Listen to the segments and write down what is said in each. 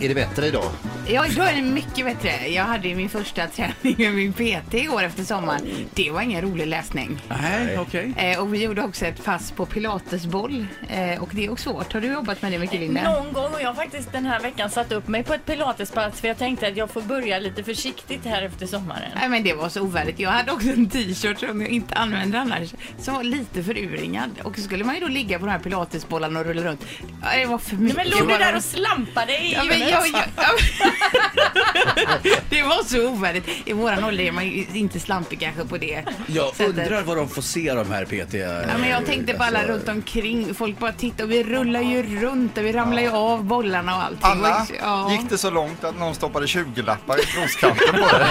Är det bättre idag? Ja, idag är det mycket bättre. Jag hade ju min första träning med min PT igår efter sommaren. Det var ingen rolig läsning. Nej, okej. Eh, och vi gjorde också ett pass på pilatesboll. Eh, och det är också svårt. Har du jobbat med det mycket Linda? Någon gång och jag har faktiskt den här veckan satt upp mig på ett pilatespass för jag tänkte att jag får börja lite försiktigt här efter sommaren. Nej men det var så ovärdigt. Jag hade också en t-shirt som jag inte använde annars. Som var lite föruringad. Och så skulle man ju då ligga på de här pilatesbollarna och rulla runt. Ja, Det var för Nej, mycket. men låg du Det var- där och slampade i Ja, men huvudet? jag, jag, ja, men- det var så ovärdigt. I våran ålder är man ju inte slampig kanske på det Jag sättet. undrar vad de får se de här Alltså, PT... Ja, men jag tänkte på alla runt omkring. Folk bara tittar och vi rullar ju runt och vi ramlar ju av bollarna och allting. Anna, ja. gick det så långt att någon stoppade 20-lappar i troskanten på dig?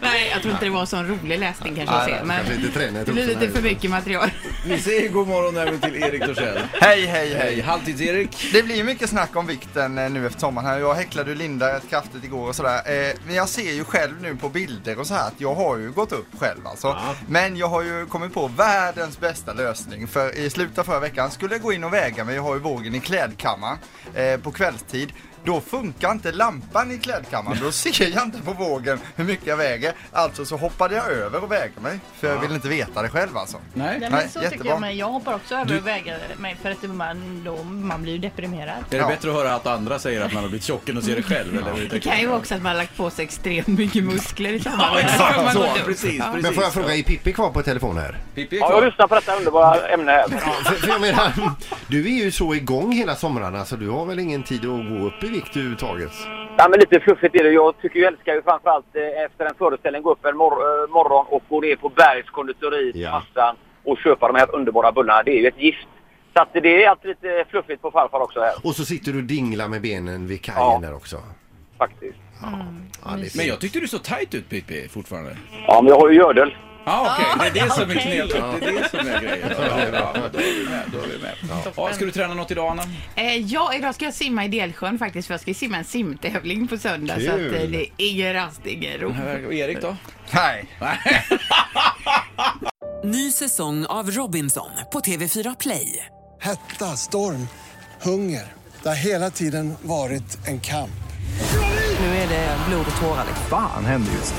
Nej, jag tror inte det var en sån rolig läsning kanske. Nej, att se, nej, men kanske inte tränet det blir också, lite nej. för mycket material. Vi säger god morgon även till Erik Torssell. Hej, hej, Hej, hej. halvtids-Erik. Det blir ju mycket snack om vikten eh, nu efter sommaren här. Jag häcklade ju Linda rätt kraftigt igår och sådär. Eh, Men jag ser ju själv nu på bilder och så här att jag har ju gått upp själv alltså. Men jag har ju kommit på världens bästa lösning. För i slutet av förra veckan skulle jag gå in och väga mig. Jag har ju vågen i klädkammaren eh, på kvällstid. Då funkar inte lampan i klädkammaren. Då ser jag inte på vågen hur mycket jag väger. Alltså så hoppade jag över och vägde mig. För jag ville inte veta det själv alltså. Nej. Nej, Nej, men så tycker jättebra. jag men jag hoppar också över och vägrar mig för att man, då, man blir ju deprimerad. Är det Ja. bättre att höra att andra säger att man har blivit tjock än att se det själv? Eller hur Det tänker kan ju du? vara också att man har lagt på sig extremt mycket muskler i sommar. Ja, Har man exakt så. gått upp. Precis, precis. Men får jag fråga, är Pippi kvar på telefon här? Pippi är Ja, jag kvar. lyssnar på detta underbara ämne här. För, för jag menar, du är ju så igång hela somrarna så du har väl ingen tid att gå upp i vikt överhuvudtaget? Nej, men lite fluffigt är det. Jag tycker jag älskar ju framförallt eh, efter en föreställning gå upp en mor- eh, morgon och gå ner på Bergs konditori, Ja. massan och köpa de här underbara bullarna. Det är ju ett gift. Så att det är alltid lite fluffigt på farfar också här Och så sitter du och dinglar med benen vid kajen Ja. där också. faktiskt. Ja, det är Men fint. jag tyckte du såg tight ut Pippi fortfarande. Ja, men jag har ju gödel. Ja okej, det är det som är okej. knepigt. Det är det som är grejen. Ja, ja, ja. Då är vi med. Då är vi med. Ja, ska du träna något idag Anna? Eh, ja, idag ska jag simma i Delsjön faktiskt för jag ska simma en simtävling på söndag. Så Kul. att, eh, det är ingen rast, ingen ro. Och Erik då? Nej. Ny säsong av Robinson på TV4 Play. Hetta, storm, hunger. Det har hela tiden varit en kamp. Nu är det blod och tårar. Fan händer just nu.